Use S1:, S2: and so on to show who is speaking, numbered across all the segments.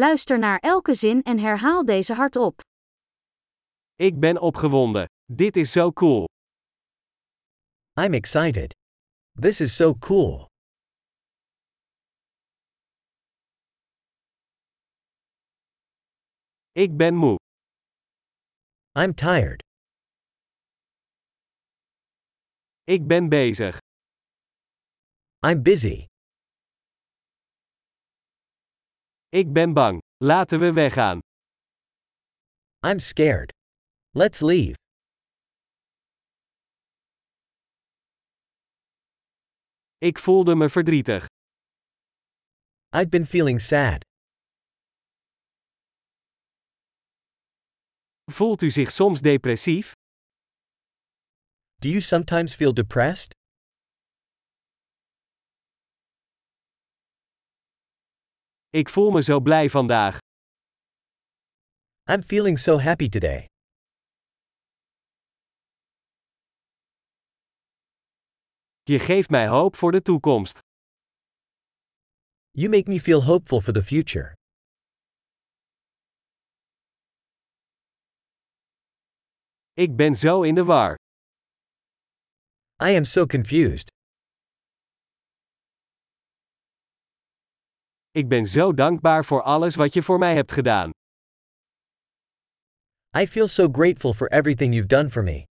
S1: Luister naar elke zin en herhaal deze hardop.
S2: Ik ben opgewonden. Dit is zo cool.
S3: I'm excited. This is so cool.
S2: Ik ben moe.
S3: I'm tired.
S2: Ik ben bezig.
S3: I'm busy.
S2: Ik ben bang. Laten we weggaan.
S3: I'm scared. Let's leave.
S2: Ik voelde me verdrietig.
S3: I've been feeling sad.
S2: Voelt u zich soms depressief?
S3: Do you sometimes feel depressed?
S2: Ik voel me zo blij vandaag.
S3: I'm feeling so happy today.
S2: Je geeft mij hoop voor de toekomst.
S3: You make me feel hopeful for the future.
S2: Ik ben zo in de war.
S3: I am so confused.
S2: Ik ben zo dankbaar voor alles wat je voor mij hebt gedaan.
S3: I feel so grateful for everything you've done for me.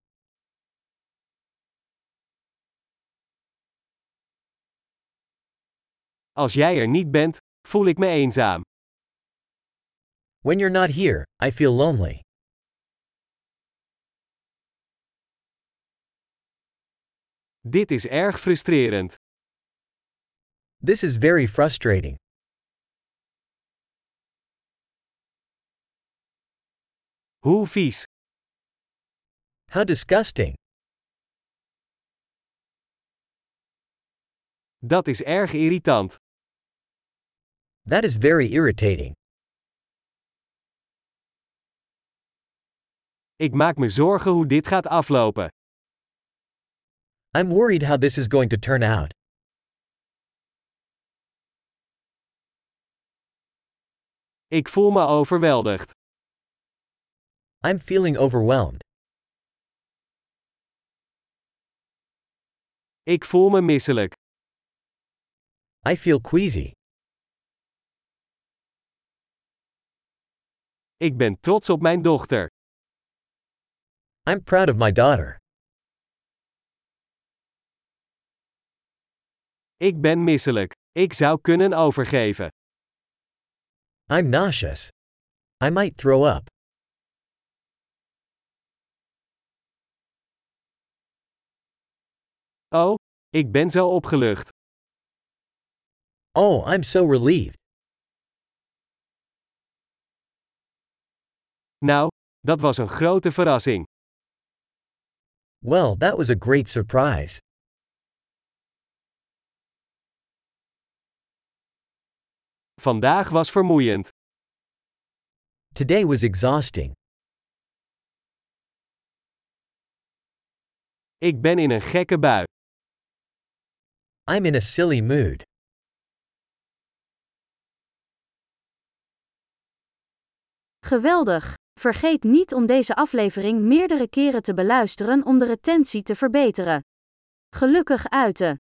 S2: Als jij er niet bent, voel ik me eenzaam.
S3: When you're not here, I feel lonely.
S2: Dit is erg frustrerend.
S3: This is very frustrating.
S2: Hoe vies.
S3: How disgusting.
S2: Dat is erg irritant.
S3: That is very irritating.
S2: Ik maak me zorgen hoe dit gaat aflopen.
S3: I'm worried how this is going to turn out.
S2: Ik voel me overweldigd.
S3: I'm feeling overwhelmed.
S2: Ik voel me misselijk.
S3: I feel queasy.
S2: Ik ben trots op mijn dochter.
S3: I'm proud of my daughter.
S2: Ik ben misselijk. Ik zou kunnen overgeven.
S3: I'm nauseous. I might throw up.
S2: Oh, ik ben zo opgelucht.
S3: Oh, I'm so relieved.
S2: Nou, dat was een grote verrassing.
S3: Well, that was a great surprise.
S2: Vandaag was vermoeiend.
S3: Today was exhausting.
S2: Ik ben in een gekke bui.
S3: I'm in a silly mood.
S1: Geweldig! Vergeet niet om deze aflevering meerdere keren te beluisteren om de retentie te verbeteren. Gelukkig uiten!